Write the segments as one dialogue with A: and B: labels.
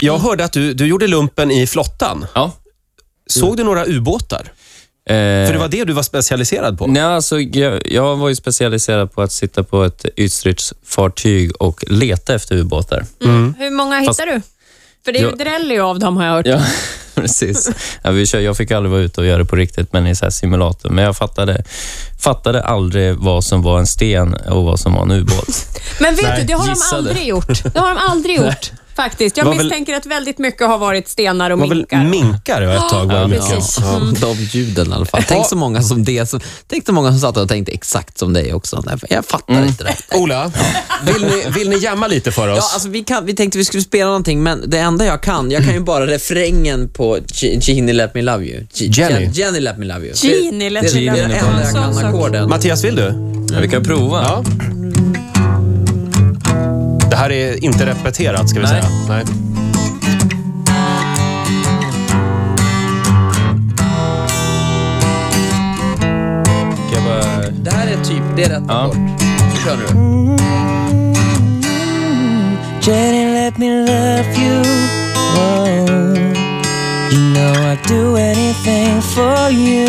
A: Jag hörde att du, du gjorde lumpen i flottan.
B: Ja.
A: Såg du några ubåtar?
B: Mm. Eh,
A: För det var det du var specialiserad på.
B: Nej, alltså, jag, jag var ju specialiserad på att sitta på ett ytstridsfartyg och leta efter ubåtar.
C: Mm. Hur många hittar
B: Fast-
C: du? För det är ju
B: Ja.
C: dräller ju av dem har jag hört.
B: Ja, precis. Ja, vi kör, jag fick aldrig vara ute och göra det på riktigt, men i så här simulator. Men jag fattade, fattade aldrig vad som var en sten och vad som var en ubåt.
C: Men vet
A: Nej,
C: du, det har
B: gissade.
C: de aldrig gjort. Det har de aldrig gjort. Faktiskt. Jag
A: Var väl-
C: misstänker att väldigt mycket har varit stenar och
A: Det var väl
C: minkar.
A: minkar det var ett tag. Var det mycket.
C: precis.
D: Ja, de ljuden i alla fall. Tänk så många som det. Som, tänk så många som satt och tänkte exakt som dig också. Nej, för Jag fattar inte det.
A: Ola, vill ni, vill ni jamma lite för oss?
D: Mm. Ja, alltså, vi, kan, vi tänkte vi skulle spela någonting, men det enda jag kan, jag kan ju bara refrängen på G- Genie Let Me Love You. G-
A: Jenny.
D: Gen- Jenny Let Me Love You.
C: Genie Let
D: det,
C: Me Love
D: det,
C: You.
D: Det är det enda jag
C: Sån
D: kan
C: sak.
D: ackorden.
A: Mattias, vill du?
B: Ja, vi kan prova.
A: Ja. Det här är inte repeterat, ska vi
B: Nej.
A: säga. Nej.
B: Ska jag bara...
D: Det här är typ, det är rätt
B: Ja.
D: ackord. Så kör du.
E: Jenny, let me love you. Oh, you know I'd do anything for you.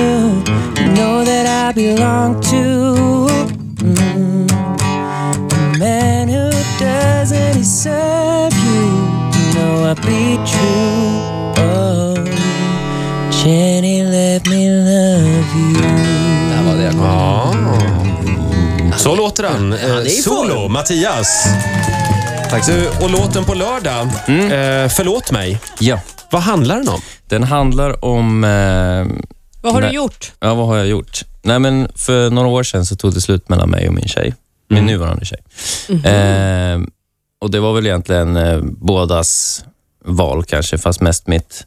E: You know that I belong to mm, a man who doesn't deserve you. You know I'd be true. Oh, Jenny, let me love you.
D: Det här var det jag kom.
A: Ja. Så låter han. Eh,
D: det är i
A: Solo,
D: form.
A: Mattias. Tack du, och låten på lördag,
B: Mm.
A: eh, Förlåt mig,
B: Ja.
A: vad handlar den om?
B: Den handlar om... Eh,
C: Vad har du
B: Nej.
C: gjort?
B: Ja, vad har jag gjort? Nej, men för några år sedan så tog det slut mellan mig och min tjej. Min nuvarande tjej. Eh, och det var väl egentligen eh, bådas val kanske, fast mest mitt.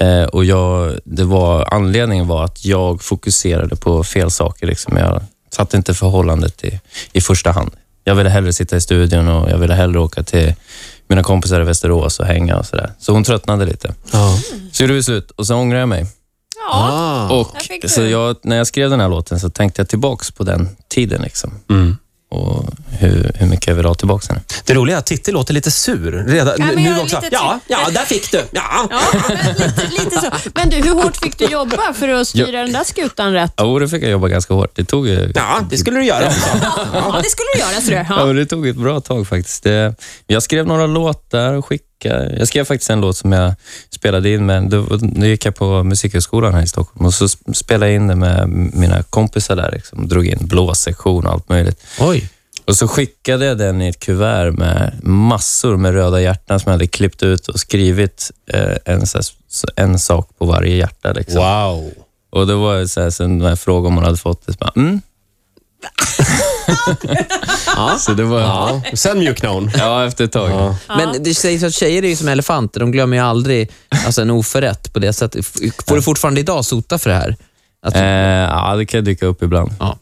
B: Eh, och jag, det var, anledningen var att jag fokuserade på fel saker. Liksom. Jag satte inte förhållandet i, i första hand. Jag ville hellre sitta i studion och jag ville hellre åka till mina kompisar i Västerås och hänga och sådär. Så hon tröttnade lite. Så gjorde vi slut och så ångrade jag mig.
C: Ja,
A: Ah.
B: Och
C: Där fick du.
B: så jag, när jag skrev den här låten så tänkte jag tillbaks på den tiden liksom. och hur, hur mycket jag vill ha tillbaks henne.
A: Det roliga är att Titti låter lite sur. Redan,
C: Ja, men
A: nu
C: jag är
A: också.
C: lite
A: Ja, ja, där fick du. Ja.
C: ja men lite, lite så. Men du, hur hårt fick du jobba för att styra den där skutan rätt?
B: Jo, det fick jag jobba ganska hårt. Det tog ju...
A: ja, det skulle du göra också.
C: Ja, det skulle du göra, ser du.
B: Ja,
C: Ja.
B: men det tog ett bra tag faktiskt. Det, jag skrev några låtar och skickade. Jag skrev faktiskt en låt som jag spelade in med. Då, då gick jag på Musikhögskolan här i Stockholm och så sp- spelade jag in det med mina kompisar där. Liksom. Drog in blåssektion och allt möjligt.
D: Oj.
B: Och så skickade jag den i ett kuvert med massor med röda hjärtan som jag hade klippt ut och skrivit eh, en, så här, s- en sak på varje hjärta. Liksom.
A: Wow.
B: Och det var så här, sen när jag frågade om hon hade fått det, så bara, mm. Så det var... Ja,
A: Ja. Sen mjuknade hon.
B: efter ett tag.
D: Men det sägs att tjejer är ju som elefanter, de glömmer ju aldrig alltså, en oförrätt på det sättet. F- Får du fortfarande idag sota för det här? Att,
B: Eh, ja, det kan dyka upp ibland.
D: ja.